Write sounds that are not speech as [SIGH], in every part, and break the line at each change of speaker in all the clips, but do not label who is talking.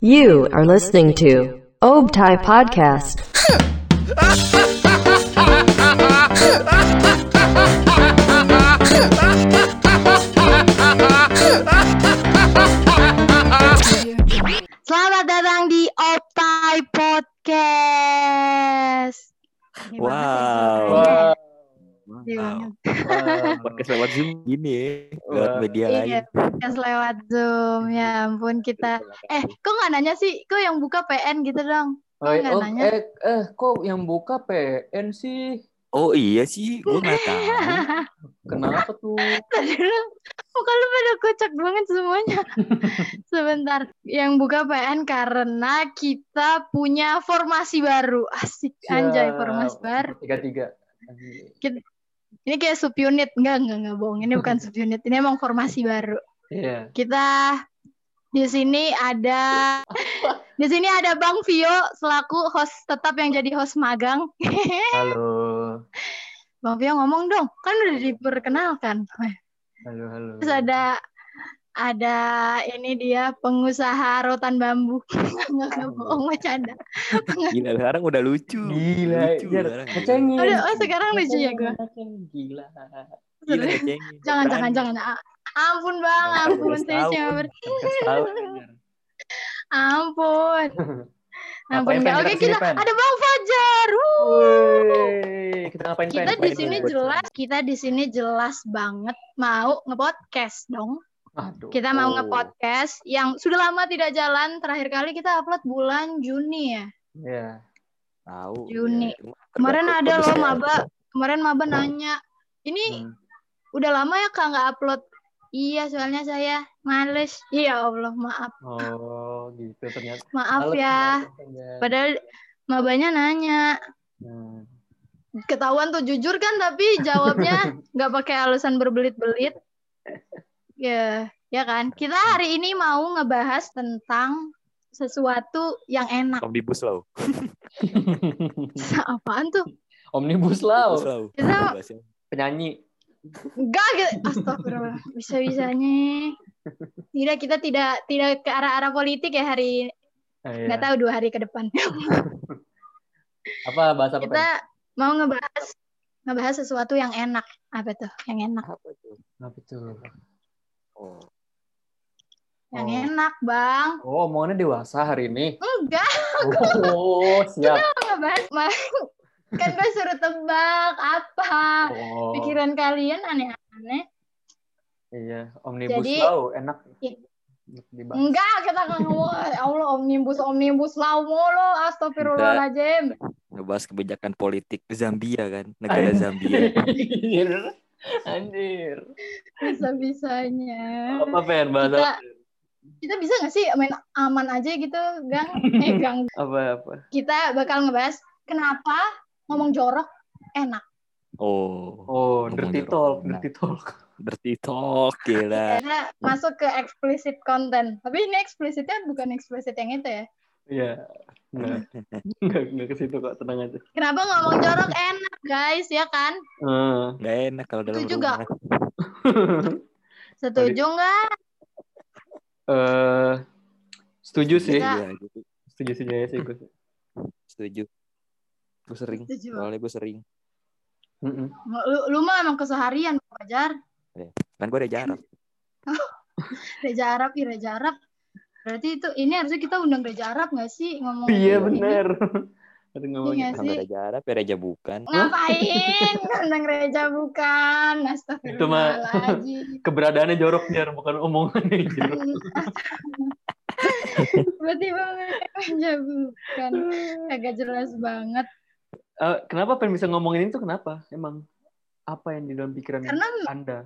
You are listening to Obtai Podcast.
Selamat datang di Optai Podcast. Oke
Wow.
banget ya, Oke
Wow.
Iya banget.
Podcast lewat Zoom gini ya, lewat
Wah.
media
Iya.
lain.
Podcast lewat Zoom. Ya ampun kita.
Iya,
Eh, kok nggak nanya sih? Kok yang buka PN gitu dong? [LAUGHS]
Oh,
nggak
oh,
nanya?
eh, eh, kok yang buka PN sih?
Oh iya sih, gue
[LAUGHS]
nggak tahu.
Kenapa tuh?
Tadi lu- Muka lu pada kocak banget semuanya. Sebentar. Yang buka PN karena kita punya formasi baru. Asik. Anjay, formasi baru.
Tiga tiga.
Ini kayak subunit. Enggak, enggak, enggak bohong. Ini bukan subunit. Ini emang formasi baru.
Iya.
Kita di sini ada di sini ada Bang Vio selaku host tetap yang jadi host magang. [LAUGHS]
Halo,
Bang Vio ngomong dong, kan udah diperkenalkan.
halo, halo.
Terus ada ada ini dia pengusaha rotan bambu. [LAUGHS] Enggak enggak bohong bercanda.
Gila, sekarang udah lucu.
Gila, iya,
lucu
Jar.
sekarang.
Ngecengin.
Aduh, oh, sekarang lucu ya gua.
Ngecengin, Gila.
Gila, ngecengin.
Jangan jangan
Berani.
jangan. Ah, Ampun Bang, ampun ya, saya cuma ber-
Kasih tahu,
[LAUGHS]
Jar.
ampun. Ampun
Ngapain
enggak. Oke,
Pen, kita kesini,
kita
Pen?
ada Bang Fajar. Wuh.
Woi, Kita ngapain
kita
Pen?
di
Ngapain,
sini
Pen?
jelas kita di sini jelas banget mau ngepodcast dong
Aduh.
kita mau
Oh.
ngepodcast yang sudah lama tidak jalan terakhir kali kita upload bulan Juni ya
Iya.
Tahu.
Juni.
ya. Cuma
kemarin
kerja-
ada
kerja
loh
saya.
maba kemarin maba nanya ini
Hmm.
udah lama ya kak nggak upload iya soalnya saya males iya allah maaf
Oh, gitu ternyata.
maaf
Males
ya
ternyata, Jar.
padahal mabanya nanya
Hmm.
ketahuan tuh jujur kan tapi
[LAUGHS]
jawabnya nggak pakai alasan berbelit-belit ya ya kan kita hari ini mau ngebahas tentang sesuatu yang enak [LAUGHS]
Omnibus Law.
apaan tuh
Omnibus Law,
Omnibus Law.
Kita-
Bahasnya.
penyanyi.
enggak gitu. astagfirullah bisa bisanya tidak kita tidak tidak ke arah arah politik ya hari
Ah, iya.
nggak tahu dua hari ke depan
Apa bahasa apa?
kita mau ngebahas ngebahas sesuatu yang enak apa tuh yang enak
Apa tuh?
Pen? Apa itu?
Oh.
yang
Oh.
enak bang
Oh, omongannya dewasa hari ini.
enggak
Oh, siap.
ngebahas malah kan gue suruh tebak apa
Oh,
pikiran kalian aneh-aneh
iya. Omnibus
Jadi-
Law enak.
Iya.
Enak dibahas.
enggak kita nggak ngomong "Ya Allah omnibus omnibus law mulu astagfirullahaladzim
Ngebahas kebijakan politik Zambia kan, negara
[LAUGHS]
Zambia.
Anjir. Anjir.
bisa bisanya
Apa pengen bahasa
kita kita bisa nggak sih main aman aja gitu gang eh gang
apa apa?
kita bakal ngebahas kenapa ngomong jorok enak
Oh,
Oh, dirty talk, dirty talk.
dirty talk gila.
Eh.
karena masuk ke explicit content tapi ini explicitnya bukan explicit yang itu ya
Iya. Enggak. Enggak enggak ke situ kok, tenang aja.
kenapa ngomong jorok enak guys ya kan
Eh.
Nggak enak kalau dalam
Setuju nggak?
rumah.
setuju nggak
Eh, setuju sih.
Kita-
Iya, gitu.
Setuju sih ya sih gue.
Setuju. Gue sering.
setuju
Soalnya gue sering.
Mm-mm.
Lu, lu mah emang keseharian wajar.
Kan gue ada jarak.
Reja Arab, ih, Reja Arab. Berarti itu ini harusnya kita undang Reja Arab nggak sih ngomong?
Iya Oh,
ini?
benar. Ada ngomongin.
Iya
Kan
sih. Oh.
ada jarak, ya reja bukan.
Ngapain [LAUGHS] undang Reja bukan?
Itu mah-
Astagfirullahaladzim. [LAUGHS]
Keberadaannya jorok biar bukan omongannya jorok.
Berarti banget Reja bukan. Agak jelas banget.
Eh, kenapa pengen bisa ngomongin itu kenapa? Emang apa yang di dalam pikiran
Karena
Anda?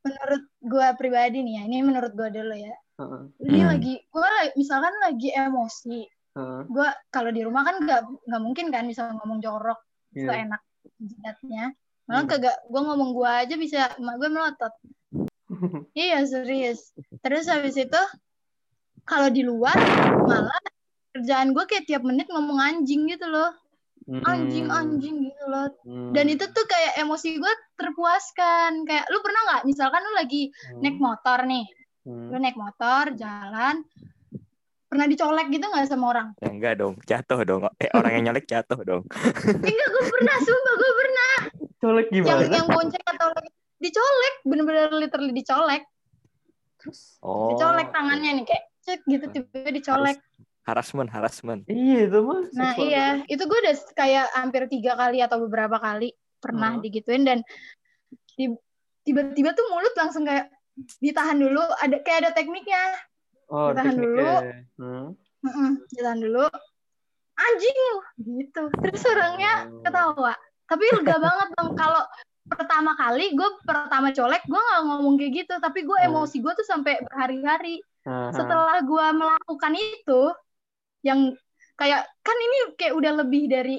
menurut gue pribadi nih ya, ini menurut gue dulu ya.
Heeh,
Ini
Hmm.
lagi, gue misalkan lagi emosi.
heeh,
Gue kalau di rumah kan nggak nggak mungkin kan bisa ngomong jorok.
iya.
seenak jidatnya. Malah
Hmm.
kagak gue ngomong gue aja bisa emak gue
[LAUGHS]
melotot. iya serius. Terus habis itu kalau di luar malah kerjaan gue kayak tiap menit ngomong anjing gitu loh.
Mm-mm.
Anjing
Hmm.
anjing gitu loh.
Mm.
Dan itu tuh kayak emosi gue terpuaskan. Kayak lu pernah nggak misalkan lu lagi
Mm.
naik motor nih.
Mm.
Lu naik motor jalan Pernah dicolek gitu nggak sama
[LAUGHS]
orang?
Ya, enggak dong, jatuh dong. Eh, orang yang nyolek jatuh dong.
Enggak, gue pernah, sumpah gue pernah.
Colek
Yang iya.
gimana?
yang bonceng atau dicolek, bener-bener literally dicolek.
Oh.
Dicolek tangannya nih kayak cet gitu tiba-tiba dicolek.
Harassment, harassment.
Iya itu mah.
Nah
seksual.
iya, itu gue udah kayak hampir tiga kali atau beberapa kali pernah
Hmm.
digituin dan ti- tiba-tiba tuh mulut langsung kayak ditahan dulu, ada kayak ada tekniknya.
Oh,
Ditahan
tekniknya. Hmm.
Mm-mm, ditahan dulu, anjing lu gitu. Terus orangnya ketawa, tapi lega banget dong kalau pertama kali gue pertama colek gue nggak ngomong kayak gitu tapi gue
Hmm.
emosi gue tuh sampai berhari-hari
Aha.
setelah gua melakukan itu yang kayak kan ini kayak udah lebih dari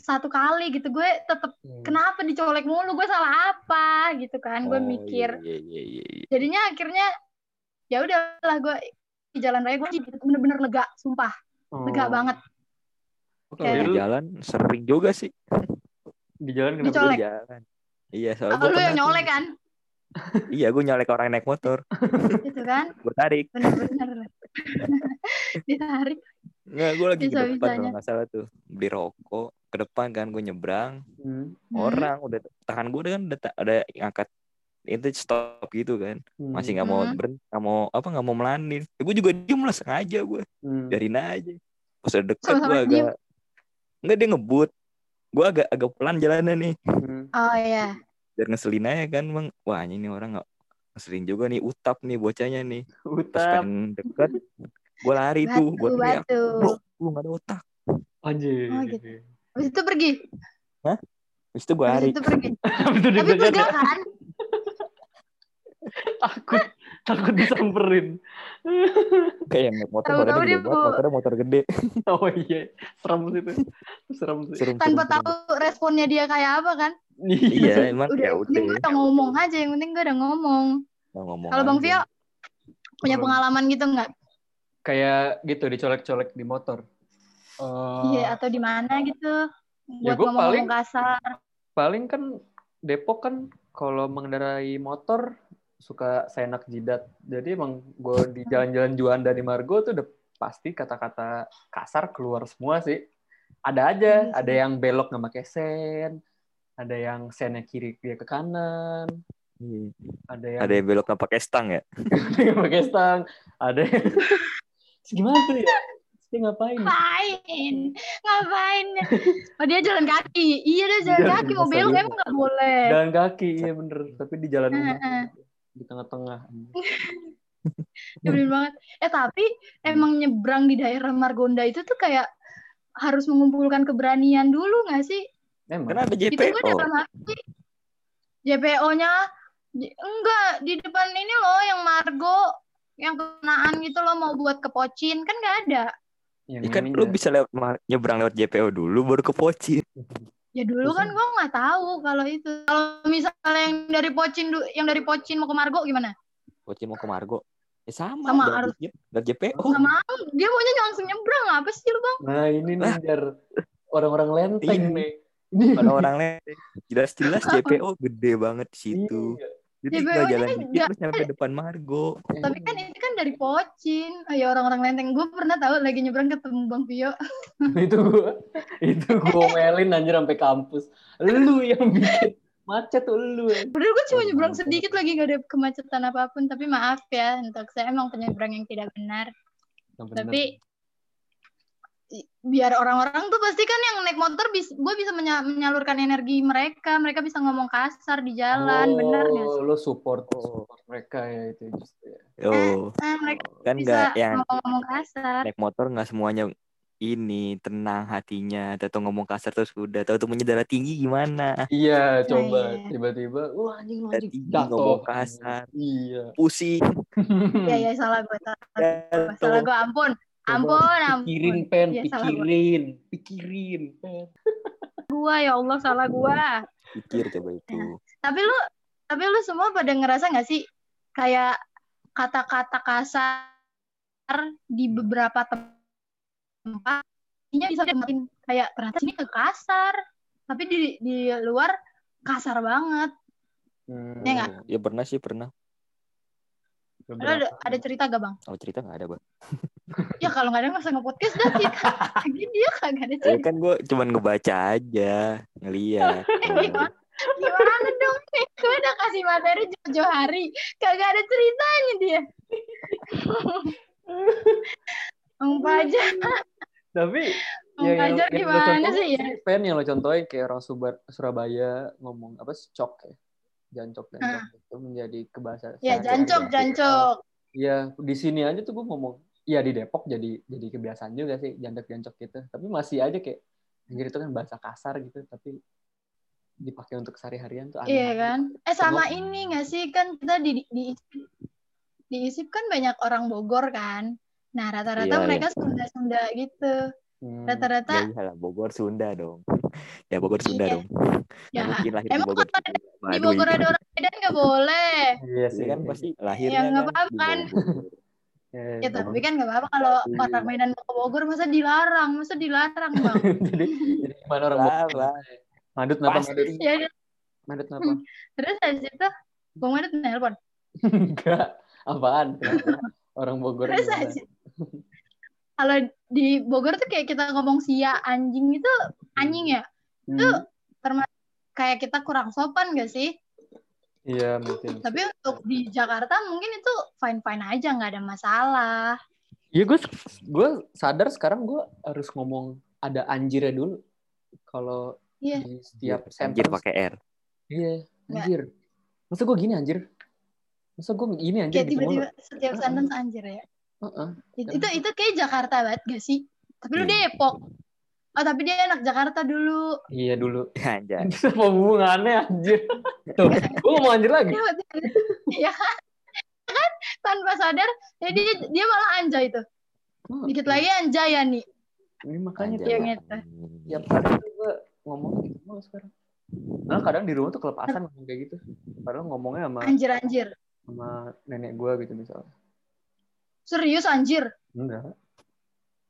satu kali gitu gue tetap
Hmm.
kenapa dicolek mulu gue salah apa gitu kan gue
Oh,
mikir
Iya, iya, iya, iya.
jadinya akhirnya ya udahlah gue di jalan raya gue bener-bener lega sumpah
Oh.
lega banget
Oh, Kalau di
Kayak-
jalan sering juga sih.
Di jalan kenapa?
Dicolek.
Di jalan. Iya, soalnya
kalau
gue
Oh, lu yang
pernah tuh.
nyolek kan
Iya, gue nyolek orang naik motor.
gitu
[LAUGHS]
kan
Gue tarik.
bener-bener [LAUGHS] ditarik
Nggak, gue lagi ke depan
Bisa-bisanya.
kalau nggak salah tuh. Beli rokok. Ke depan kan gue nyebrang.
Hmm.
Hmm.
Orang udah tangan gue kan udah ta- ada yang angkat itu stop gitu kan
Hmm.
masih nggak mau
Hmm.
berhenti nggak mau apa nggak mau melanin gue juga diem lah sengaja gue
Hmm.
biarin aja pas udah deket
Sama-sama
gue agak
diem.
nggak dia ngebut gue agak agak pelan jalannya nih
Hmm.
oh iya
biar ngeselin aja kan bang wah ini nih orang nggak ngeselin juga nih utap nih bocahnya nih pas
Utap.
pengen deket gue lari tuh gue
batu
teriak
batu
bro lu nggak ada otak
Anjir.
Oh, gitu. habis itu pergi
terus itu gue lari
habis itu pergi
Betul
tapi
[LAUGHS]
deg-degan
pegang
ya.
kan
Takut. Takut disamperin.
kayak yang naik motor
Tahu-tahu
badannya gede
dia
banget
bu-
motornya motor gede
Oh iya. Serem sih itu. Serem sih.
serem
tanpa
serem,
tahu
serem.
responnya dia kayak apa kan
iya emang
udah,
ya
yang penting gue
udah
udah ngomong aja yang penting gue udah ngomong
Nggak ngomong
kalau bang
aja.
Vio punya
Kalau-
pengalaman gitu nggak
Kayak gitu dicolek-colek di motor.
iya
Eh,
atau di mana gitu
Ya,
buat
gua
ngomong
paling-
kasar
paling kan Depok kan kalau mengendarai motor suka seenak jidat. Jadi emang gue di jalan-jalan Juanda di Margo tuh udah pasti kata-kata kasar keluar semua sih. Ada aja,
Iya sih.
ada yang belok nggak pakai sen, ada yang sennya kiri dia ke kanan,
Iya.
ada yang
ada yang belok nggak pakai stang ya
Iya.
yang [LAUGHS] pakai stang, ada yang [LAUGHS] Terus gimana tuh ya? Terus Dia
[LAUGHS]
ngapain?
ngapain ngapain oh dia jalan kaki iya dia jalan
Jalan
kaki mau
kaki,
belok
iya.
emang nggak boleh
Jalan kaki, iya bener. Tapi di jalan umum,
Heeh.
di tengah-tengah.
Nyebelin banget eh tapi emang nyebrang di daerah Margonda itu tuh kayak harus mengumpulkan keberanian dulu nggak sih
kan
Emang?
ada
itu gue
JPO
dalam arti JPO-nya di- enggak di depan ini loh yang Margo yang kenaan gitu loh mau buat kepocin kan nggak ada
Yang
Ya kan
ini
lu
ya.
bisa lewat ma- nyebrang lewat JPO dulu baru ke Poci.
ya dulu kan gue nggak tahu kalau itu kalau misalnya yang dari pocin du- yang dari pocin mau ke Margo gimana
Poci mau ke Margo. Ya sama,
Sama,
dari,
harus-
dari JPO.
nggak mau dia maunya langsung nyebrang apa sih lu bang
Nah ini nih Jar. orang-orang
Ini.
lenteng nih. Ini [LAUGHS]
Kalau orang lain jelas-jelas JPO gede banget di situ.
Iya.
Jadi
JPO
nggak
-nya
jalan
kan
dikit
nggak-
terus nyampe depan Margo.
tapi
Iya.
kan itu kan dari pocin oh, ya orang-orang lenteng gue pernah tahu lagi nyebrang ketemu bang Vio
itu gua itu gua omelin anjir sampai kampus. Lu yang bikin macet tuh lu.
Padahal gue
Oh,
cuma nyebrang sedikit lagi gak ada kemacetan apapun. Tapi maaf ya, untuk saya emang penyebrang yang tidak benar.
Yang bener.
Tapi i- biar orang-orang tuh pasti kan yang naik motor bis, gue bisa menya- menyalurkan energi mereka. Mereka bisa ngomong kasar di jalan,
Oh,
bener nggak sih?
Lu support, support mereka ya itu justru ya.
Oh,
Nah, mereka
kan
bisa
nggak yang
ngomong-ngomong kasar.
naik motor nggak semuanya ini tenang hatinya atau ngomong kasar terus udah tahu tuh punya darah tinggi gimana
Iya, coba
iya.
tiba-tiba wah anjing lu anjing
Tadi
jatuh.
ngomong kasar.
Iya.
pusing
Ya, ya salah gue. Salah
jatuh
gue, ampun.
Coba
Ampun, ampun.
Pikirin pen,
Iya, salah gua.
pikirin, pikirin pen.
Gue, ya Allah, salah gue.
pikir coba itu
tapi lu tapi lu semua pada ngerasa nggak sih kayak kata-kata kasar di beberapa tempat ini bisa makin kayak ternyata sini ke kasar tapi di di luar kasar banget
Hmm.
Ya nggak?
ya Eh, pernah sih pernah
Iya,
Lu ada, ada cerita gak bang
kalau cerita nggak ada bang
ya kalau nggak ada nggak usah nge-podcast dah kita. Lagi dia kagak ada
Ya
cerita.
kan gue cuman ngebaca aja,
[LAUGHS]
ngeliat.
Gimana, gimana dong nih? Gue udah kasih materi jauh-jauh hari. Kagak ada ceritanya dia. Om Fajar,
Tapi ya,
Om Fajar
lo
gimana
contohin
sih ya?
Pen yang lo contohin kayak orang Subar, Surabaya ngomong apa sih, cok ya. Jancok jancok itu menjadi kebahasaan.
Ah. Ya jancok, jancok.
Iya, di sini aja tuh gue ngomong, ya di Depok jadi jadi kebiasaan juga sih jancok-jancok gitu. Tapi masih aja kayak anjir itu kan bahasa kasar gitu, tapi dipakai untuk sehari-harian tuh aneh.
Iya kan? Eh sama ini nggak sih kan kita di di diisip kan banyak orang Bogor kan. Nah rata-rata
Iya, iya.
mereka Sunda-Sunda gitu.
Hmm.
Rata-rata
Ya iyalah, Bogor Sunda dong. [LAUGHS] Ya Bogor Sunda
Iya.
dong.
[LAUGHS] ya.
Nggak mungkin lahir
Emang
di Bogor.
kalau di Bogor ada orang Medan nggak boleh.
Iya
Pasti
sih
kan pasti lahirnya
Ya, nggak
kan di
apa-apa kan.
Bogor.
Iya, iya,
Ya
[LAUGHS] iya.
tapi kan nggak apa-apa kalau
Iya.
orang Medan mau ke Bogor masa dilarang, masa dilarang bang.
jadi jadi gimana orang Bogor?
Parah.
Madut kenapa madut?
Pasti.
ya
Madut kenapa?
Hmm. terus dari situ Bang Medan nelpon.
[LAUGHS] Enggak. Apaan? Kenapa? Orang Bogor.
Terus
gimana?
aja. Kalau di Bogor tuh kayak kita ngomong sia anjing itu anjing ya.
Hmm.
Kayak kita kurang sopan gak sih?
Iya, mungkin.
Tapi untuk di Jakarta mungkin itu fine fine aja nggak ada masalah.
Iya gue gue sadar sekarang gue harus ngomong ada anjirnya dulu kalau
Iya.
di setiap
Anjir
sentence.
pakai R. [LAUGHS]
Iya
Nggak.
anjir. Masa gue gini anjir? Masa gue gini anjir?
Kayak
gitu mulu?
tiba-tiba setiap sentence anjir ya.
Heeh.
Itu itu, itu kayak Jakarta banget gak sih? Tapi lu
Hmm.
Depok. Oh tapi dia anak Jakarta dulu.
Iya dulu. [LAUGHS]
Anjay.
Itu apa hubungannya
[LAUGHS]
anjir? Tuh, gue mau anjir lagi.
Iya kan? Kan? Tanpa sadar, jadi dia malah anjay itu. Dikit lagi anjay ya nih.
Ini makanya
Anjay.
tuh
Yang itu.
tiap hari tuh gue ngomong gitu mulu sekarang. Nah, kadang di rumah tuh kelepasan ngomong kayak gitu. Padahal ngomongnya sama
Anjir-anjir.
sama nenek gue gitu misalnya.
Serius anjir.
Enggak.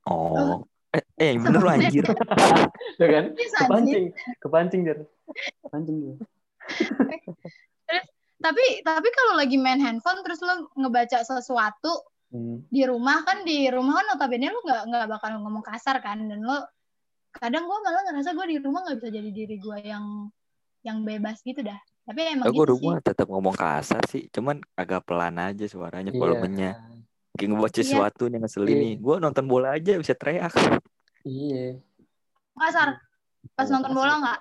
Oh. Eh, eh yang bener lu anjir.
Ya kan?
Serius anjir.
Kepancing. Kepancing jar. Kepancing dia.
Tapi tapi kalau lagi main handphone terus lo ngebaca sesuatu
Hmm.
di rumah kan di rumah kan notabene lo nggak nggak bakal ngomong kasar kan dan lo kadang gue malah ngerasa gue di rumah nggak bisa jadi diri gue yang yang bebas gitu dah. Tapi emang
Aku
gitu sih.
rumah tetap ngomong kasar sih, cuman agak pelan aja suaranya,
Iya.
volumenya. Kayak ngebaca
Iya.
sesuatu yang ngeselin
Iya.
nih. Gue nonton bola aja bisa teriak.
Iya.
Iya.
Kasar pas nonton bola nggak?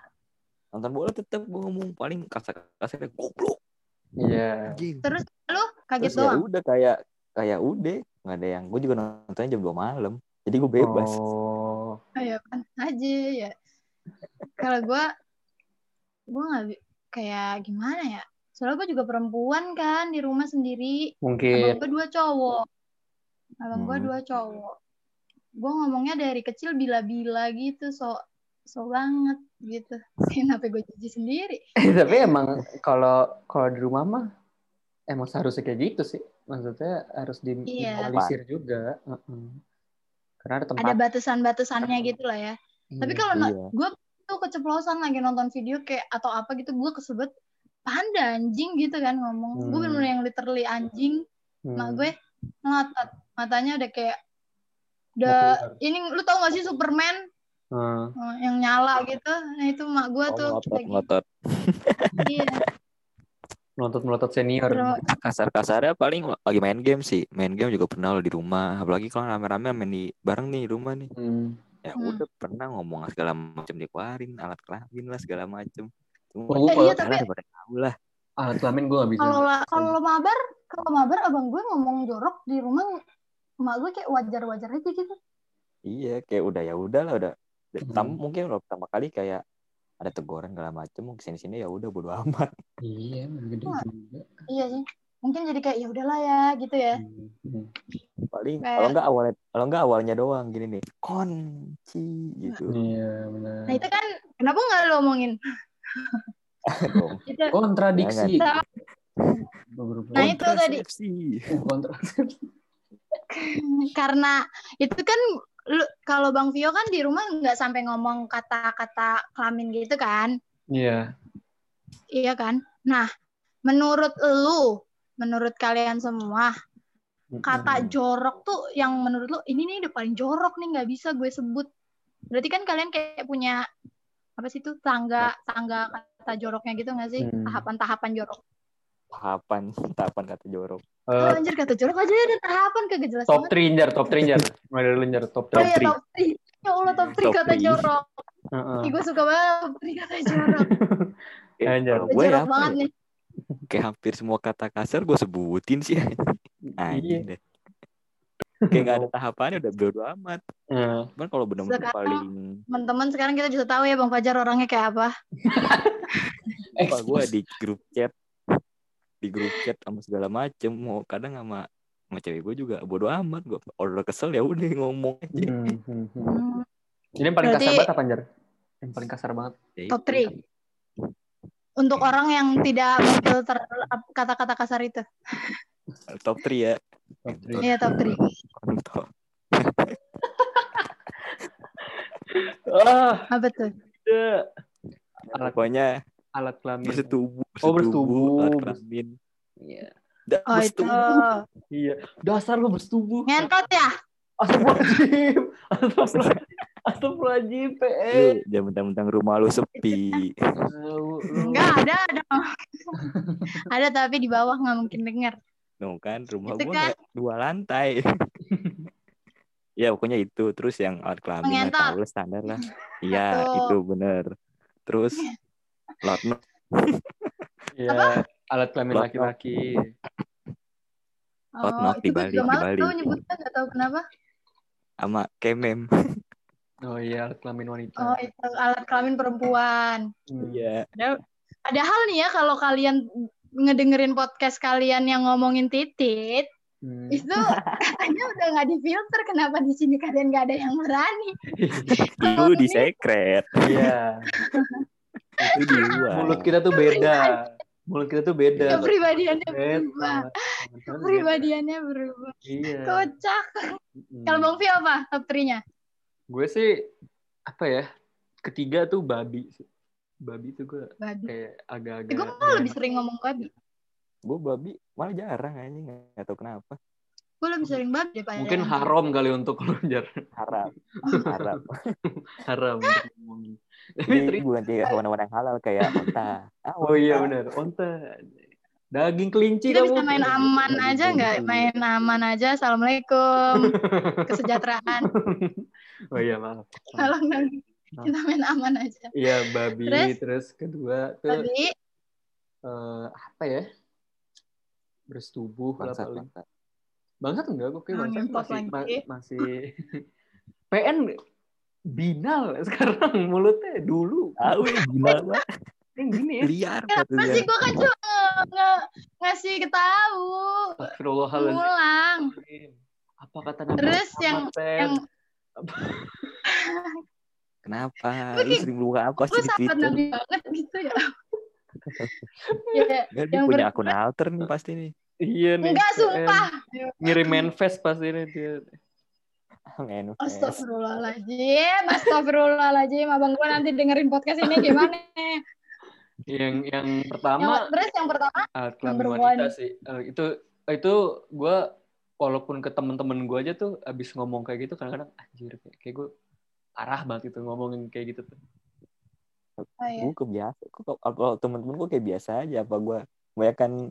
Nonton bola tetap gue ngomong paling kasar-kasar goblok
Iya.
anjing.
Terus lo kaget
Terus ya
doang.
udah kayak kayak udah nggak ada yang gue juga nontonnya jam 2 malam. Jadi gue bebas.
Oh.
Ayo kan aja ya. Kalau gue, gue nggak bi- kayak gimana ya? Soalnya gue juga perempuan kan di rumah sendiri.
Mungkin [LAUGHS]
Abang gue dua cowok. Abang gue
Hmm.
dua cowok. Gue ngomongnya dari kecil bila-bila gitu, so so banget gitu. [LAUGHS] Kenapa gue jijik sendiri?
Eh, tapi emang kalau kalau di rumah mah emang seharusnya kayak gitu sih maksudnya harus di
Iya.
diminimalisir juga Heeh. karena ada tempat
Ada batasan-batasannya gitu lah ya. Tapi
Iya.
kalau
iya.
gue tuh keceplosan lagi nonton video kayak atau apa gitu, gue kesebet panda anjing gitu kan ngomong. Gue
Hmm.
bener-bener yang literally anjing.
Hmm.
Mak gue ngotot. Matanya udah kayak
Mau
udah
keluar.
ini lu tau gak sih Superman
Heeh.
eh, yang nyala gitu. Nah itu mak gue tuh
Oh,
lagi
ngotot-ngotot.
iya,
melotot melotot senior
bro.
Kasar-kasarnya paling lagi main game sih. Main game juga pernah lo di rumah. Apalagi kalau rame-rame main di bareng nih di rumah nih.
Hmm.
Ya
Hmm.
udah pernah ngomong segala macam dikeluarin, alat kelamin lah segala macam. Cuma
Oh,
Eh, iya,
kalau
tapi-
salah daripada tahu lah.
Ah, alat kelamin gue gak bisa
Kalau la- kalau mabar, kalau mabar abang gue ngomong jorok di rumah mak gue kayak wajar-wajar aja gitu.
Iya, kayak udah ya udah lah udah.
Hmm.
Tam- mungkin lo pertama kali kayak ada teguran segala macem mungkin sini sini ya udah bodo amat
iya emang gede
Wah.
juga
Iya sih. Mungkin jadi kayak ya udahlah ya gitu ya.
Hmm.
paling
Kayak-
kalau enggak awalnya kalau enggak awalnya doang gini nih kunci gitu
iya benar
Nah itu kan kenapa nggak lo [LAUGHS] omongin?
dong
Itu.
Oh, kontradiksi
Jangan. Nah, itu tadi.
Kontrasepsi.
kontradiksi
karena itu kan lu kalau Bang Vio kan di rumah nggak sampai ngomong kata-kata kelamin gitu kan
iya
iya kan nah menurut lu menurut kalian semua
Eh,
kata jorok tuh yang menurut lo ini nih udah paling jorok nih nggak bisa gue sebut berarti kan kalian kayak punya apa sih tuh tangga tangga kata joroknya gitu nggak sih
Hmm.
tahapan-tahapan jorok
tahapan tahapan kata jorok
oh,
Eh,
anjir kata jorok aja ada tahapan kagak jelas
top
banget
3 njar, top 3 njar. Mulai dari lu njar, top
Oh
3.
iya, top 3. Ya Allah, top 3
Top
kata
three.
jorok.
Heeh.
Ih, gue suka banget top 3 kata jorok.
Eh,
Anjir.
kalau [LAUGHS] gue
jorok
apa
banget
ya?
nih.
kayak hampir semua kata kasar gue sebutin sih [LAUGHS]
Iya.
anjing deh kayak nggak ada tahapannya udah bodo amat
Heeh.
cuman kalau bener-bener
Sekarang-
paling
Teman-teman sekarang kita bisa tahu ya Bang Fajar orangnya kayak apa.
Eh,
apa gue di grup chat di grup chat sama segala macem mau kadang sama sama cewek gue juga bodo amat gue order kesel ya udah ngomong aja
Hmm, hmm, hmm.
Hmm,
Jadi yang paling kasar
Berarti-
banget apa njar? Yang paling kasar banget.
Ya
Top
itu.
three. untuk
Iya.
orang yang tidak memfilter kata-kata kasar itu.
top 3 ya
Top three.
Iya, top 3.
Kontol.
Ah,
Apa tuh?
ada Alat-
pokoknya
alat kelamin.
bersetubuh
Oh, bersetubuh.
alat kelamin
Iya.
Dah,
Oh, itu.
bersetubuh
Iya. Dasar lu bersetubuh.
Ngentot ya?
Astagfirullahaladzim. Astagfirullahaladzim. Astagfirullahaladzim.
Lu
PS.
jangan mentang-mentang rumah lu sepi
Tahu, lu.
Enggak, ada, ada.
[LAUGHS]
ada tapi di bawah nggak mungkin dengar.
Tuh kan rumah
Gitu
gue
kan.
dua
[LAUGHS]
lantai. ya pokoknya itu terus yang alat kelamin
Mengentot.
tahu lah, standar
[LAUGHS]
lah. Iya
Satu.
itu bener.
[LAUGHS]
Terus lotno
Iya. Alat kelamin
Blok.
laki-laki.
Hot knock Oh,
Oh,
di
itu gue
Bali,
juga
di
malas
Bali.
tau nyebutnya nggak tahu kenapa.
sama kemem.
Oh iya, alat kelamin wanita.
Oh, itu alat kelamin perempuan.
[LAUGHS]
Hmm.
Iya.
Padahal nih ya kalau kalian ngedengerin podcast kalian yang ngomongin titit,
Hmm.
[LAUGHS]
itu katanya udah nggak difilter. Kenapa di sini kalian nggak ada yang berani?
Iya, Itu di secret.
Iya.
Itu di luar.
Mulut kita tuh
Iya.
beda. Mulut kita tuh beda.
Kepribadiannya
Iya,
berubah.
Beda.
Iya, Kepribadiannya berubah.
Iya.
Kocak.
Mm-mm.
Iya.
Kalau Bang Fi apa top 3-nya?
Gue sih apa ya? Ketiga tuh babi sih. Babi tuh gue
Babi.
kayak
Eh,
agak-agak.
iya,
gue
gak
malah lebih
enak.
sering ngomong babi.
Gue babi malah jarang aja nggak tahu kenapa.
Gue lebih sering babi daripada
Mungkin
yang-
haram kali untuk lu jar.
[LAUGHS]
Harap. Harap.
Haram untuk ngomongin. Tapi
Jadi
terus-
bukan kayak hewan-hewan yang halal kayak onta. Ah,
Oh iya
onta.
benar. Onta. Daging kelinci
Kita
kamu.
bisa main aman aja nggak? Main aman aja.
[LAUGHS]
Assalamualaikum. Kesejahteraan.
oh iya maaf.
Tolong dong.
Nah.
Kita main aman aja.
Iya babi.
Terus?
Terus, kedua tuh
Babi.
eh, apa ya? Bersetubuh lah
Bangsat,
paling.
bangsat.
Bangsat enggak kok kayak
Oh,
bangsat
ngempot
masih ma-
lagi.
masih [LAUGHS] PN binal sekarang mulutnya dulu
Ah, weh, gila banget.
yang gini ya.
Liar.
Iya. Kenapa sih gue kan cuma nge- nge- ngasih ketahu
Astagfirullahaladzim.
ngulang
Apa kata nama
Terus
nama,
yang-
Pen?
yang
Kenapa?
Gue
Lu
kayak-
sering buka apa
gue
sih di
sangat
Twitter?
nabi banget gitu
[LAUGHS]
ya. ya
Enggak, dia
Yang
punya
ber-
akun alter nih pasti
[LAUGHS]
nih.
iya nih.
enggak
PN.
sumpah.
Ngirim manifest pasti ini dia.
Men, fest.
Astagfirullahaladzim, astagfirullahaladzim. Abang gue nanti dengerin podcast ini gimana?
Yang yang
yang,
pertama
terus yang pertama,
alat kelamin
number
wanita
one.
sih. Eh, itu itu gue walaupun ke temen-temen gue aja tuh abis ngomong kayak gitu kadang-kadang anjir kayak, kayak gue parah banget itu ngomongin kayak gitu tuh.
oh, iya.
Gue kebiasa. Kok kok- kalau temen-temen gue kayak biasa aja apa gue kebanyakan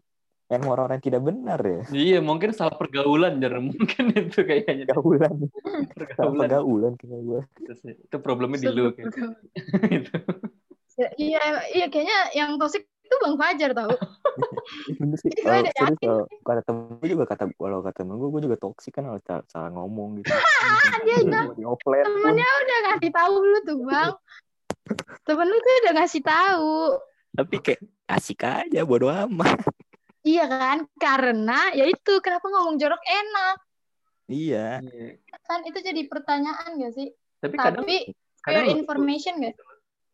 yang orang-orang yang tidak benar [LAUGHS] ya.
Iya, mungkin salah pergaulan jar [LAUGHS] mungkin itu kayaknya
Gaulan. Apa
pergaulan.
gaulan kayak gue.
[LAUGHS]
Itu, sih. Itu problemnya di ya. lu kayak [LAUGHS] gitu.
Ya, Iya, iya kayaknya yang tosik itu Bang Fajar tau.
Bener sih.
Gue
Kalau
udah
serius
yakin.
kalau kata temen gue juga kata kalau kata temen gue gue juga toksik kan kalau salah, salah ngomong
[LAUGHS]
gitu.
dia udah-
Ngoplet.
Nah, Temennya udah ngasih tahu lu tuh Bang. Temen lu tuh udah ngasih tahu.
Tapi kayak asik aja bodo amat.
Iya kan? Karena ya itu kenapa ngomong jorok enak
Iya.
Iya.
kan itu jadi pertanyaan gak sih?
Tapi kadang
Tapi fair
kadang,
information gak? sih?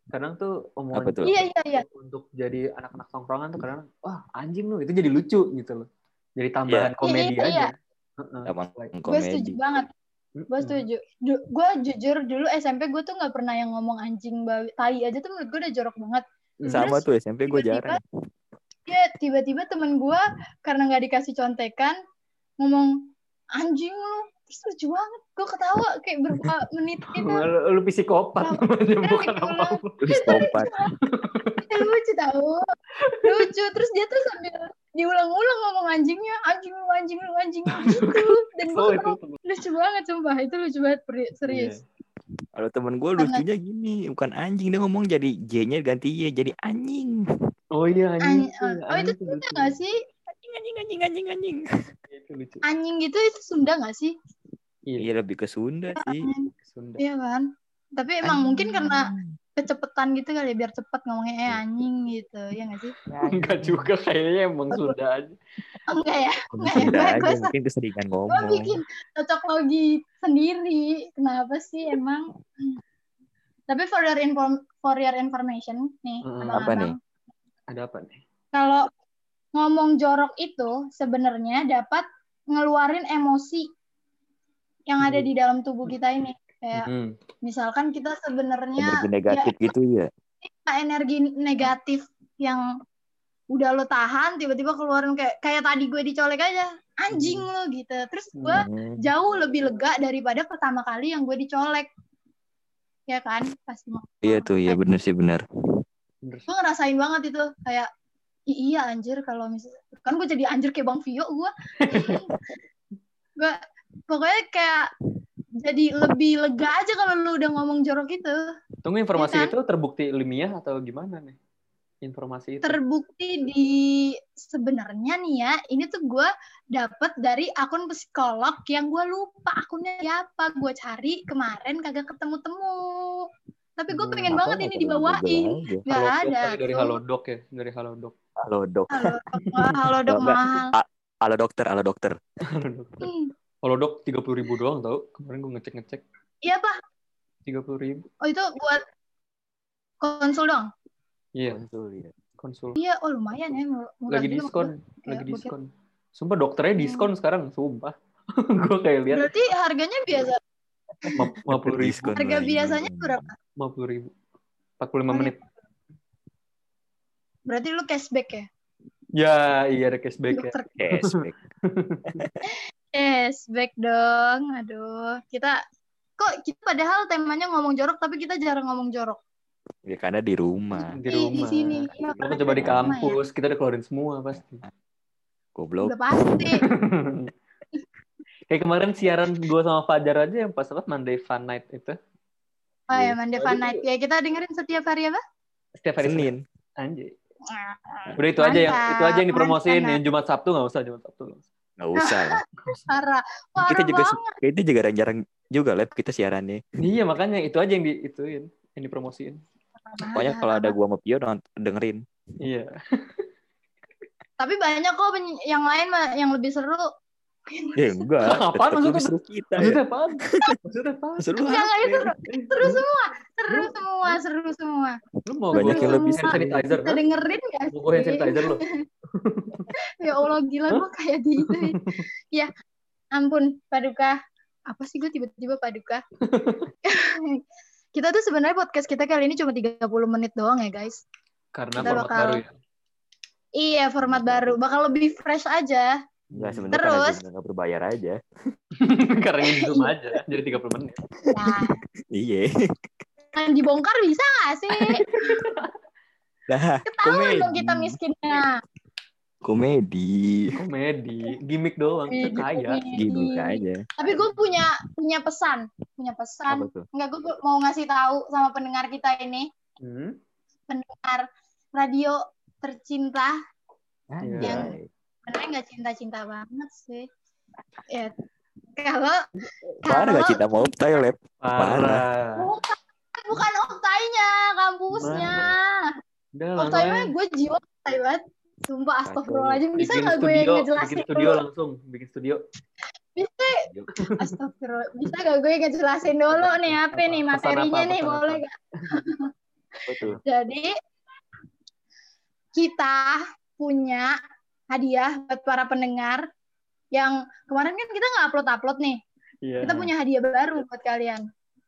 kadang tuh omongan
Apa tuh?
Iya iya iya.
untuk jadi anak-anak tongkrongan tuh kadang wah anjing lu itu jadi lucu gitu loh. Jadi tambahan komedi
Iya, iya.
aja. Heeh.
Sama
Gue setuju
komedi.
banget. Gue
Mm-mm.
setuju. Gue jujur dulu SMP gue tuh nggak pernah yang ngomong anjing babi tai aja tuh menurut gue udah jorok banget.
Sama tuh SMP gue
Tiba-tiba- Iya,
jarang.
Ya tiba-tiba temen gue karena nggak dikasih contekan ngomong anjing lu terus lucu banget gue ketawa kayak berapa menit gitu
Lu, lu psikopat
Kenapa?
namanya
Kenapa gitu
bukan apa.
[LAUGHS]
Terus kompat.
Eh, lucu tahu lucu terus dia tuh sambil diulang-ulang ngomong anjingnya anjing lu anjing lu anjing lu gitu dan gue
So Oh, itu
ketawa, lucu banget sumpah itu lucu banget peri- serius
Kalau temen gue lucunya gini, bukan anjing dia ngomong jadi J-nya ganti Y jadi anjing.
Oh iya anjing.
An- oh itu Sunda nggak sih
Anjing anjing anjing anjing anjing.
Iya, Itu lucu.
anjing gitu itu Sunda nggak sih
Iya,
[LAUGHS] Iya lebih ke Sunda sih.
[LAUGHS]
Sunda.
iya kan tapi emang mungkin karena
Anjing.
kecepetan gitu kali ya, biar cepet ngomongnya eh anjing gitu ya nggak sih
Enggak juga kayaknya emang Sunda aja.
enggak ya
Mungkin
Nggak,
Sunda
gue-
aja
gue sa-
mungkin keseringan
gue
ngomong.
bikin cocok logi sendiri kenapa sih emang tapi for your inform for your information nih
Hmm,
abang-abang.
apa nih?
Ada apa nih?
kalau ngomong jorok itu sebenarnya dapat ngeluarin emosi yang ada di dalam tubuh kita ini kayak
Hmm.
misalkan kita sebenarnya
Energi negatif gitu ya.
ya, energi negatif yang udah lo tahan tiba-tiba keluarin kayak kayak tadi gue dicolek aja anjing lo gitu terus gue
Hmm.
jauh lebih lega daripada pertama kali yang gue dicolek ya kan pasti mau
Iya tuh, iya bener sih bener.
Bener.
gue ngerasain banget itu kayak "I- iya anjir kalau misalnya kan gue jadi anjir kayak bang Vio gue gue pokoknya kayak jadi lebih lega aja kalau lu udah ngomong jorok itu
Tunggu informasi
Iya kan?
itu terbukti ilmiah atau gimana nih? Informasi itu.
terbukti di sebenarnya nih ya ini tuh gue dapet dari akun psikolog yang gue lupa akunnya siapa gue cari kemarin kagak ketemu-temu tapi
Hmm,
gue pengen
Apa
banget
nggak
ini
pernah
dibawain
gua aja?
nggak
Halodoc
ada
kali dari
tuh.
Halodoc ya, dari Halodoc.
Halo dok,
halo dok Wah,
[LAUGHS]
halo dok
Nggak, nggak.
mahal
halo dokter, halo dokter.
Halodoc.
Hmm.
Halodoc 30.000 ribu doang tau. Kemarin gue ngecek-ngecek
iya pak
30.000 ribu.
Oh itu buat konsul dong?
Iya,
Konsul, iya.
konsul.
Iya, oh lumayan ya. murah
Lagi
juga.
diskon, lagi
Iya,
diskon. Sumpah dokternya diskon sekarang, sumpah. [LAUGHS] gue kayak lihat
ya. Berarti harganya biasa.
50 ribu,
Diskon
Harga
lagi.
biasanya berapa?
50 ribu.
Oh, iya.
45 menit.
Berarti lu cashback ya?
Ya, iya ada cashback ya.
Dokter
Cashback.
cashback dong. Aduh, kita kok kita padahal temanya ngomong jorok tapi kita jarang ngomong jorok.
Ya karena di rumah.
eh,
Di
Di-
rumah.
Di sini. Iya,
Lo kan
karena
coba di
kita rumah ya.
kampus, kita udah keluarin semua pasti.
Goblok.
Udah pasti.
[LAUGHS] Kayak kemarin siaran gue sama Fajar aja yang pas apa Monday Fun Night itu.
Oh ya,
Iya.
Mandevan Night. Ya, kita dengerin setiap hari apa?
Setiap hari Senin.
Senin.
Anjay.
Ah,
Udah itu aja yang itu aja yang dipromosiin. Yang Jumat Sabtu nggak usah Jumat Sabtu. nggak
Nggak
usah.
usah lah.
Parah. [LAUGHS] Parah
Kita juga
banget.
kita juga jarang juga live kita siarannya.
Iya makanya itu aja yang diituin, yang dipromosiin.
Pokoknya kalau ada gua sama Pio nont- dengerin.
Iya.
Tapi banyak kok peny- yang lain mah yang lebih seru.
Ya enggak.
Apaan
Tetap
maksudnya?
lebih seru kita. ya.
Maksudnya apa? Maksudnya apa?
Seru
Yang
apa
lain
ya?
seru. Seru semua, seru semua, seru semua.
Lu mau
Banyak
gua-
yang lebih
hand
seru.
sanitizer.
Bisa
hah?
dengerin gak
Mau gue hand
sih?
sanitizer lu.
Ya Allah, gila gue kayak di itu. ya, ampun, Paduka. Apa sih gue tiba-tiba Paduka? kita tuh sebenarnya podcast kita kali ini cuma 30 menit doang ya guys.
Karena
Kita
format
bakal-
baru ya.
Iya, format baru. Bakal lebih fresh aja.
Enggak sebenarnya karena
Terus.
gua nggak berbayar aja.
[LAUGHS] Karena ini di Zoom
Iya.
aja. Jadi 30 menit.
Nah,
Iya.
jangan dibongkar bisa gak sih?
[LAUGHS] Nah,
Ketahuan dong
Komedi.
kita miskinnya.
komedi.
Komedi, gimmick doang,
Komedi,
kaya.
Iya, komedi.
Gini aja.
gitu, Tapi gue punya punya pesan, punya pesan.
Apa tuh?
Enggak, gue mau ngasih tahu sama pendengar kita ini,
Hmm.
pendengar radio tercinta.
iya.
Anjay.
Karena nggak cinta-cinta banget sih. Ya, kalau
Parah
kalau
gak cinta mau toilet?
Parah.
bukan oktainya, kampusnya. Oh,
Udah lah.
Oktainya kan gue jiwa oktai banget. Sumpah astagfirullahaladzim. Bisa
bikin
nggak gue
studio,
ngejelasin
bikin studio
dulu?
langsung, bikin studio.
Astagfirullah. Bisa nggak gue ngejelasin dulu nih apa nih
Pesan apa,
materinya nih
pesan apa?
boleh nggak?
Apa tuh?
Jadi kita punya hadiah buat para pendengar yang kemarin kan kita nggak upload-upload nih.
Iya.
Kita punya hadiah baru buat kalian.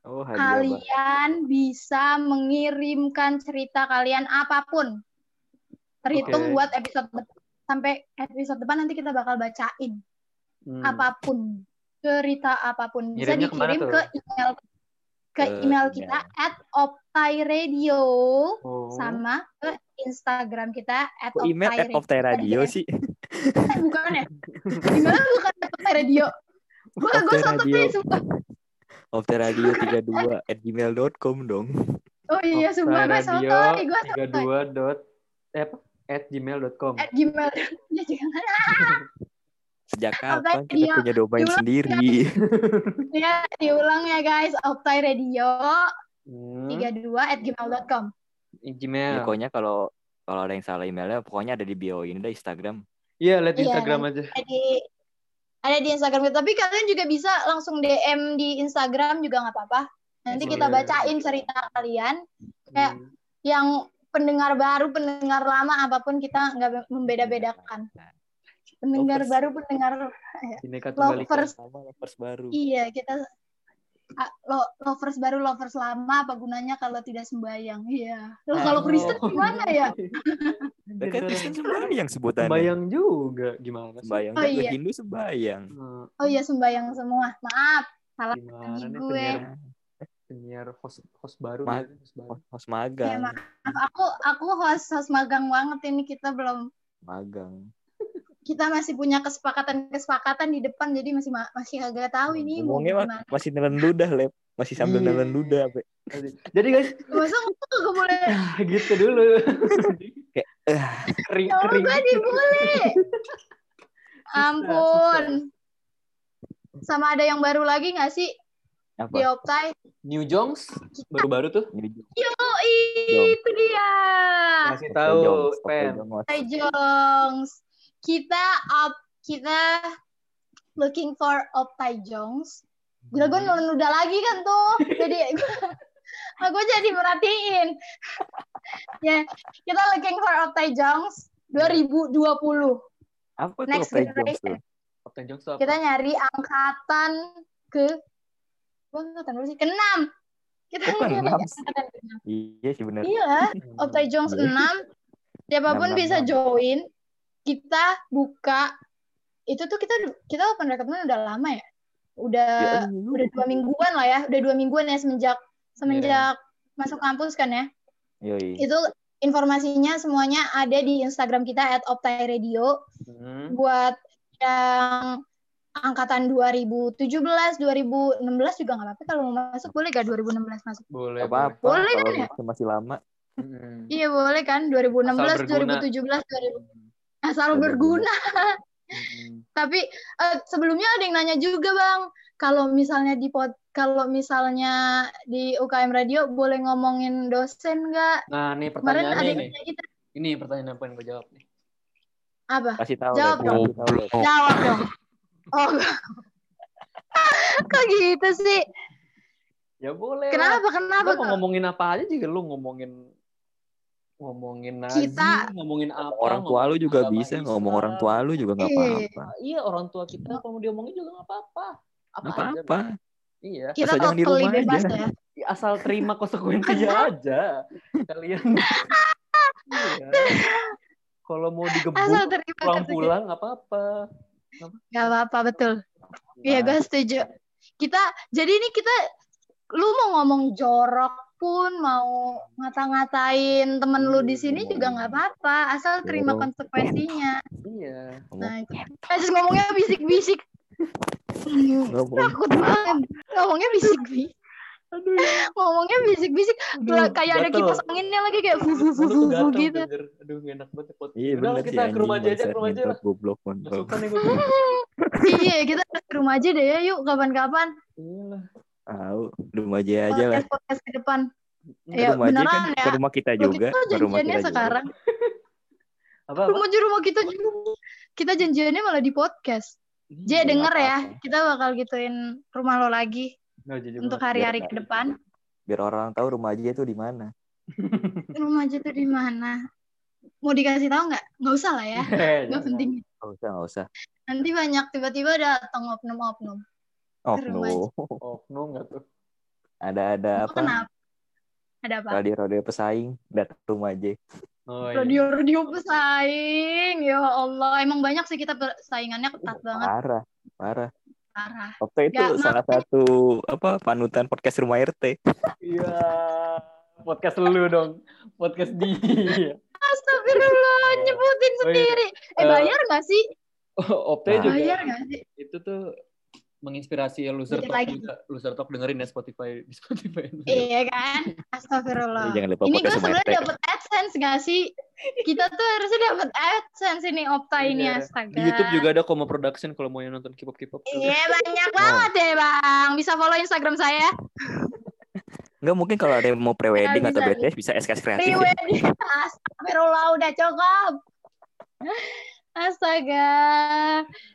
Oh, hadiah. Bang.
Kalian bisa mengirimkan cerita kalian apapun. Terhitung
Oke.
buat episode depan. sampai episode depan nanti kita bakal bacain
Hmm.
apapun. cerita apapun bisa
Ngirimnya kemana
dikirim
tuh?
ke email ke
Ke
email kita at optairadio
Oh.
sama ke Instagram kita at
Kok email
optairadio.
at Optai Radio sih?
[LAUGHS] Eh, bukan ya? kan Emailnya bukan at optairadio. Gue gue
Optai
sotoy
Radio.
sumpah.
Optai Radio 32 at gmail.com dong.
Oh iya sumpah gue
radio
sotoy gue
tiga
sotoy.
dua dot eh, apa? at gmail.com
At gmail. [LAUGHS] Ya jangan
Sejak
Optai
kapan kita
Radio.
punya domain
Diulang,
sendiri?
ya diulang ya guys. Optairadio
hmm,
32 at gmail.com.
gmail
Iya.
Ya, pokoknya kalau kalau ada yang salah emailnya, pokoknya ada di bio ini deh Instagram.
iya lihat
Iya,
instagram aja
Ada di ada di Instagram kita. Tapi kalian juga bisa langsung DM di Instagram juga nggak apa-apa. Nanti kita
Iya.
bacain cerita kalian kayak
Hmm.
yang pendengar baru, pendengar lama apapun kita nggak membeda-bedakan. Pendengar
Lovers.
baru, pendengar
Bineka tunggal ika
lovers.
Sama lovers baru.
Iya, kita ah, lo- lovers baru, lovers lama apa gunanya kalau tidak sembayang? Iya. Loh,
Ah,
kalau
iya.
Kristen gimana
[LAUGHS]
ya?
Lah, Kan Kristen sembahyang sebutannya.
bayang juga gimana sih
Sembayang.
Oh,
Kan ke
iya.
Hindu sembayang.
Hmm,
Oh iya sembayang semua. Maaf. Salah
gimana
tadi
nih
gue.
penyiar eh, penyiar host host baru
Ma-
nih, host baru.
Host- Host Oh, magang.
Ya, Aku aku host host magang banget ini kita belum
Magang.
kita masih punya kesepakatan-kesepakatan di depan jadi masih ma- masih agak tahu ini mau
Ngomongnya mah
gimana.
masih nelen ludah, Lep. Masih sambil
Iya.
nelen ludah. Pe.
jadi guys [LAUGHS]
Masa aku gak
[LAUGHS]
boleh
gitu dulu [LAUGHS]
Kayak,
eh. kering
sama
kering gitu.
gue
[LAUGHS]
dibully. Ampun. Sama ada yang baru lagi gak sih
Apa?
di Optai?
New Jongs baru-baru tuh
Ini-
Yoi, itu dia.
kasih
Jong,
tahu
Optai
pen
Jong, Mas.
Hai Jongs. Kita up kita looking for Optai Jongs. Gila gue nelen udah lagi kan tuh. Jadi aku jadi merhatiin. [LAUGHS] ya, kita looking for Optai Jongs 2020.
Apa tuh
Next
Optai Jong
generation.
tuh?
Kapten Jongs tuh apa?
Kita nyari angkatan ke Gue angkatan berapa sih? Keenam. Kita
Oh, keenam
nyari
sih.
angkatan keenam.
Iya sih bener.
Iya,
Hmm,
Optai Jongs
Iya.
6. Siapapun
Enam, enam,
bisa
enam.
join. Kita buka itu tuh kita kita open recruitment udah lama ya. Udah
Ya, aduh,
udah dua mingguan lah ya udah dua mingguan ya semenjak semenjak masuk kampus kan ya
Yoi.
itu informasinya semuanya ada di Instagram kita at Optai Radio
Hmm.
buat yang angkatan 2017 2016 juga nggak apa-apa kalau mau masuk boleh gak 2016 masuk
boleh
Gak apa-apa.
Boleh kan
Kalau
ya?
gitu masih lama.
boleh. Hmm,
iya boleh kan 2016
berguna.
2017 2000
Mm-mm.
Hmm.
asal
Asal
berguna
berguna.
Mm-mm.
Tapi eh, sebelumnya ada yang nanya juga bang, kalau misalnya di pod, kalau misalnya di UKM Radio boleh ngomongin dosen nggak?
nah nih
Kemarin ada
pertanyaannya
yang
nih
nanya kita
ini pertanyaan apa yang gue jawab nih
apa?
Kasih tahu.
Jawab
Lep.
dong.
Kasih tahu, Lep.
Jawab dong. Oh, [LAUGHS] kok gitu sih?
ya boleh
Kenapa? Kenapa?
Lu mau ngomongin apa aja juga lu ngomongin ngomongin Nazi,
Kita-
ngomongin apa
Orang tua lu
ngomongin
juga
agama
bisa ngomong
Islam.
orang tua lu juga nggak
Iya.
apa-apa.
iya orang tua kita kalau mau diomongin juga nggak apa-apa apa,
Nggak
aja,
apa-apa.
Bang. iya
Kita
Asal jangan di
totally
rumah
bebas
aja.
ya.
Ya, asal terima
[LAUGHS]
konsekuensinya aja kalian iya. kalau mau
Asal
digebuk
terima kasih.
pulang-pulang nggak apa-apa Nah,
Gak apa-apa betul.
Kan?
Iya gue setuju. Kita jadi ini kita lu mau ngomong jorok pun mau ngata-ngatain temen lu di sini juga nggak apa-apa asal terima
Jorok.
konsekuensinya.
iya
Nah, itu. Terus ngomongnya bisik-bisik. Hmm,
Ngomong.
Takut banget. Ngomongnya bisik-bisik.
aduh
Ngomongnya bisik-bisik Lah, kayak ada kipas anginnya lagi kayak vu vu vu vu vu gitu.
Bener. Aduh, nggak enak banget. ya, Pot.
Iya
Udah,
bener sih
kita ke rumah aja aja, ke rumah aja lah.
Goblok pon.
Nggak suka nih gue.
iya, kita harus ke rumah aja deh ya yuk kapan-kapan.
Iya lah.
Tahu,
kan?
rumah aja aja lah.
Podcast-podcast ke depan.
Ke
Ya,
rumah aja kan
Iya, beneran
ke
ya.
rumah kita
Loh,
juga,
kita
ke rumah
janjiannya
kita juga.
sekarang.
Apa? apa?
Rumah rumah kita juga. Kita janjiannya malah di podcast. J
Iya,
denger
nggak
ya,
apa-apa.
kita bakal gituin rumah lo lagi
Iya, Nggak jadi
untuk
banget.
hari-hari ke depan.
biar orang tahu rumah aja itu di mana.
Rumah aja tuh di mana? Mau dikasih tahu nggak? Nggak usah lah ya,
Eh,
nggak
jangan.
penting.
Enggak usah, enggak usah.
Nanti banyak tiba-tiba datang oknum-oknum.
Oh,
Ke
[LAUGHS]
rumah
no.
Oknum nggak tuh.
Ada-ada
Lo
apa?
Kenapa? Ada apa?
Radio-radio pesaing datang ke rumah aja.
Oh, iya.
Radio-radio pesaing, ya Allah. Emang banyak sih kita persaingannya ketat banget.
Parah, parah.
parah.
Okta itu
Nggak,
salah satu apa panutan podcast rumah RT.
Iya, podcast lu dong. Podcast dia.
Astagfirullah, nyebutin
Oh, iya.
sendiri. Eh
Eh,
bayar nggak sih?
Opte
Nah.
juga
Bayar nggak sih?
itu tuh menginspirasi loser
Dikit
talk
lagi.
juga. Loser talk dengerin ya Spotify di Spotify.
Iya
[LAUGHS]
kan? Astagfirullah.
Iya,
Jangan lupa
Ini gue
podcast rumah
sebenarnya
RT.
dapat AdSense nggak sih? Kita tuh harusnya dapat AdSense ini Opta ini
Iya.
astaga.
Di YouTube juga ada Komo Production kalau mau yang nonton K-pop K-pop.
Iya banyak banget ya bang. Bisa follow Instagram saya.
Enggak mungkin kalau ada yang mau pre-wedding
Nah,
atau
bisa.
BTS bisa SKS kreatif. ya.
Pre-wedding. Astagfirullah udah cukup. Astaga.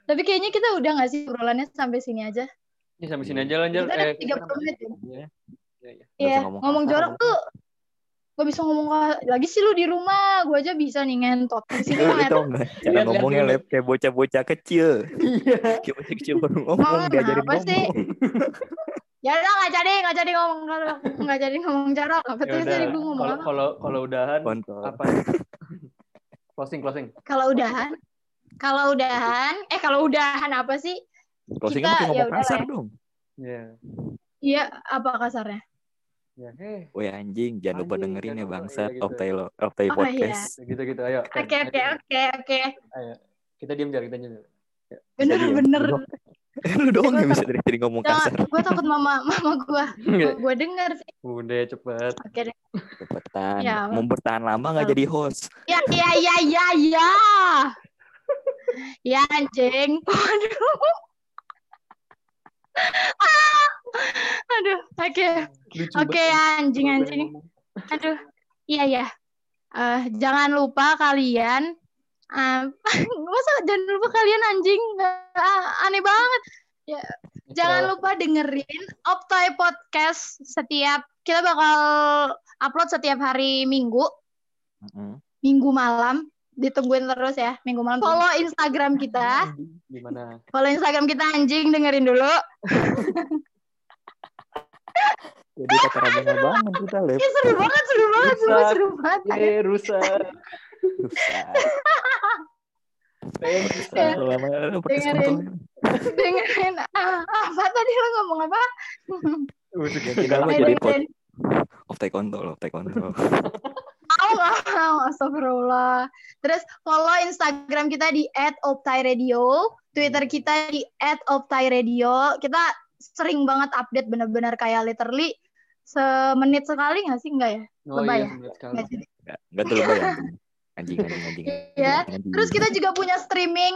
Tapi kayaknya kita udah nggak sih obrolannya sampai sini aja.
Ini sampai sini aja Eh, lanjut.
Kita udah 30 menit. ya.
Nggak usah
Iya,
ngomong
ngomong
kasar,
jorok
gitu.
tuh gak bisa ngomong ka- lagi sih lu di rumah, gue aja bisa nih ngentot di sini
Lu
ngeliat
tau Iya, nggak cara
lihat
ngomongnya
dulu.
lep kayak bocah-bocah kecil.
Iya.
Kayak bocah kecil baru ngomong
Ngomong
diajarin
apa sih?
ngomong.
ya udah nggak jadi nggak jadi ngomong jorok nggak jadi ngomong jorok apa
Ya
tuh
udah.
tadi gue ngomong
Kalau
apa
kalau kalau udahan
Kontol.
apa? ya?
[LAUGHS]
closing closing.
kalau udahan kalau udahan eh kalau udahan apa sih Kita-
Closingnya mungkin ngomong
ya udahlah
kasar
ya.
dong.
Iya.
iya apa kasarnya
Ya, heh.
Woi anjing, jangan lupa
Anjing,
dengerin
jangan
ya
lupa,
bangsat
iya gitu.
Optai lo, Optai
Oh, iya.
podcast.
Gitu-gitu ayo.
oke oke oke oke
Kita diam jar, kita diam. jar.
bener
Jadi ya,
bener
[LAUGHS] Lu doang yang bisa dari tadi ngomong
jangan
kasar.
gue takut mama [LAUGHS] mama gue gue denger sih
Udah cepet.
oke deh
Cepetan.
Ya.
Mau bertahan lama nggak
Betul.
jadi host?
ya ya ya ya ya ya anjing [LAUGHS] waduh Ah. aduh oke
Lucu
Oke
banget.
anjing
Kalau
anjing.
pengen ngomong.
Aduh. Iya ya. Eh jangan lupa kalian eh, [LAUGHS] masa jangan lupa kalian anjing Ah, aneh banget. Jangan
Misal-
lupa dengerin Optoy Podcast setiap kita bakal upload setiap hari Minggu,
Mm-mm.
Minggu malam. Ditungguin terus ya Minggu malam. Follow Instagram kita.
Gimana?
Follow Instagram kita anjing dengerin dulu. [LAUGHS]
Jadi kata Rabang Abangan kita
Ih,
lep.
Iya, seru banget, seru banget, seru,
Rusak.
seru banget. Aduh,
Yeay, rusak.
Rusak.
Pengen rusak.
Terlalu lama, lu podcast
Iya. Dengerin.
kontol.
dengerin [LAUGHS] ah, apa tadi lo ngomong apa?
Udah,
Yang
udah.
kedua
Eh,
jadi
dengerin.
Optai kontol, Optai kontol.
mau nggak mau astagfirullah terus follow instagram kita di @optairadio twitter kita di @optairadio kita sering banget update bener-bener kayak literally semenit sekali nggak sih nggak ya
Oh
Lebay
iya,
ya?
bener sekali.
Nggak sih.
Nggak nggak terlalu bayang. Anjing, anjing, anjing.
Iya.
anjing, anjing.
terus kita juga punya streaming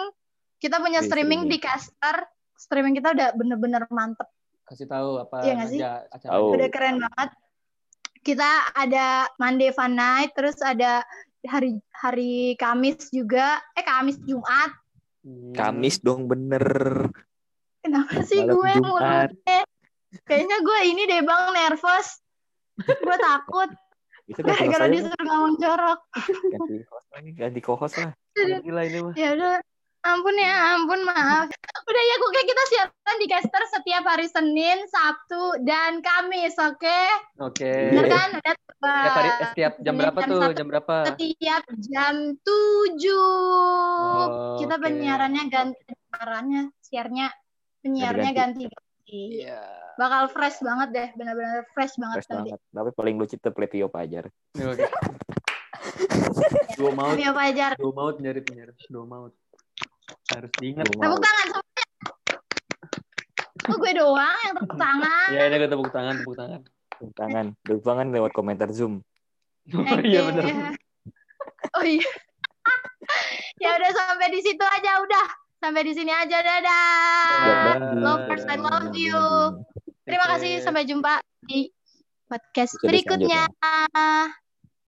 kita punya
Iya,
streaming di caster streaming kita udah bener-bener mantep
Kasih tahu apa
Iya nggak sih?
aja acara.
Tahu.
udah keren banget kita ada Monday Fun Night terus ada hari hari Kamis juga eh Kamis Jumat
Hmm.
Kamis dong bener.
Kenapa sih
Malam
gue
Jumat.
mulutnya? Kayaknya gue ini deh bang nervous. gue
[LAUGHS]
takut
Itu ganti host
[LAUGHS] gara-gara
aja,
disuruh ngomong jorok.
ganti host lagi, ganti co-host lah.
Aduh,
Gila ini mah.
Ya udah, ampun ya, ampun maaf. Udah ya, gue kita siaran di caster setiap hari Senin, Sabtu, dan Kamis, oke?
Oke.
Bener kan? Udah
Setiap
tebak.
hari eh, setiap jam
Ini Iya, jam
berapa tuh?
satu.
Jam berapa?
Setiap jam 7.
Oh,
kita
oke.
penyiarannya ganti, penyiarannya, siarnya, penyiarnya ganti-ganti.
Iya.
Bakal fresh banget deh, benar-benar fresh banget
Fresh
nanti.
banget. Tapi paling lucu tuh Plepio Pajar.
Oke. Dua maut,
Tapi apa aja?
dua maut nyari penyiar. Dua maut. Harus diingat.
Lu mau
Tepuk tangan semuanya. Kok gue doang yang tepuk tangan?
Ya, ini gue tepuk tangan, tepuk tangan.
tepuk tangan. Tepuk tangan lewat komentar Zoom.
Oke.
[LAUGHS] Iya benar.
Oh iya. [LAUGHS] ya udah sampai di situ aja udah. Sampai di sini aja dadah. Lovers, I love you. Terima kasih sampai jumpa di podcast
Episode
berikutnya.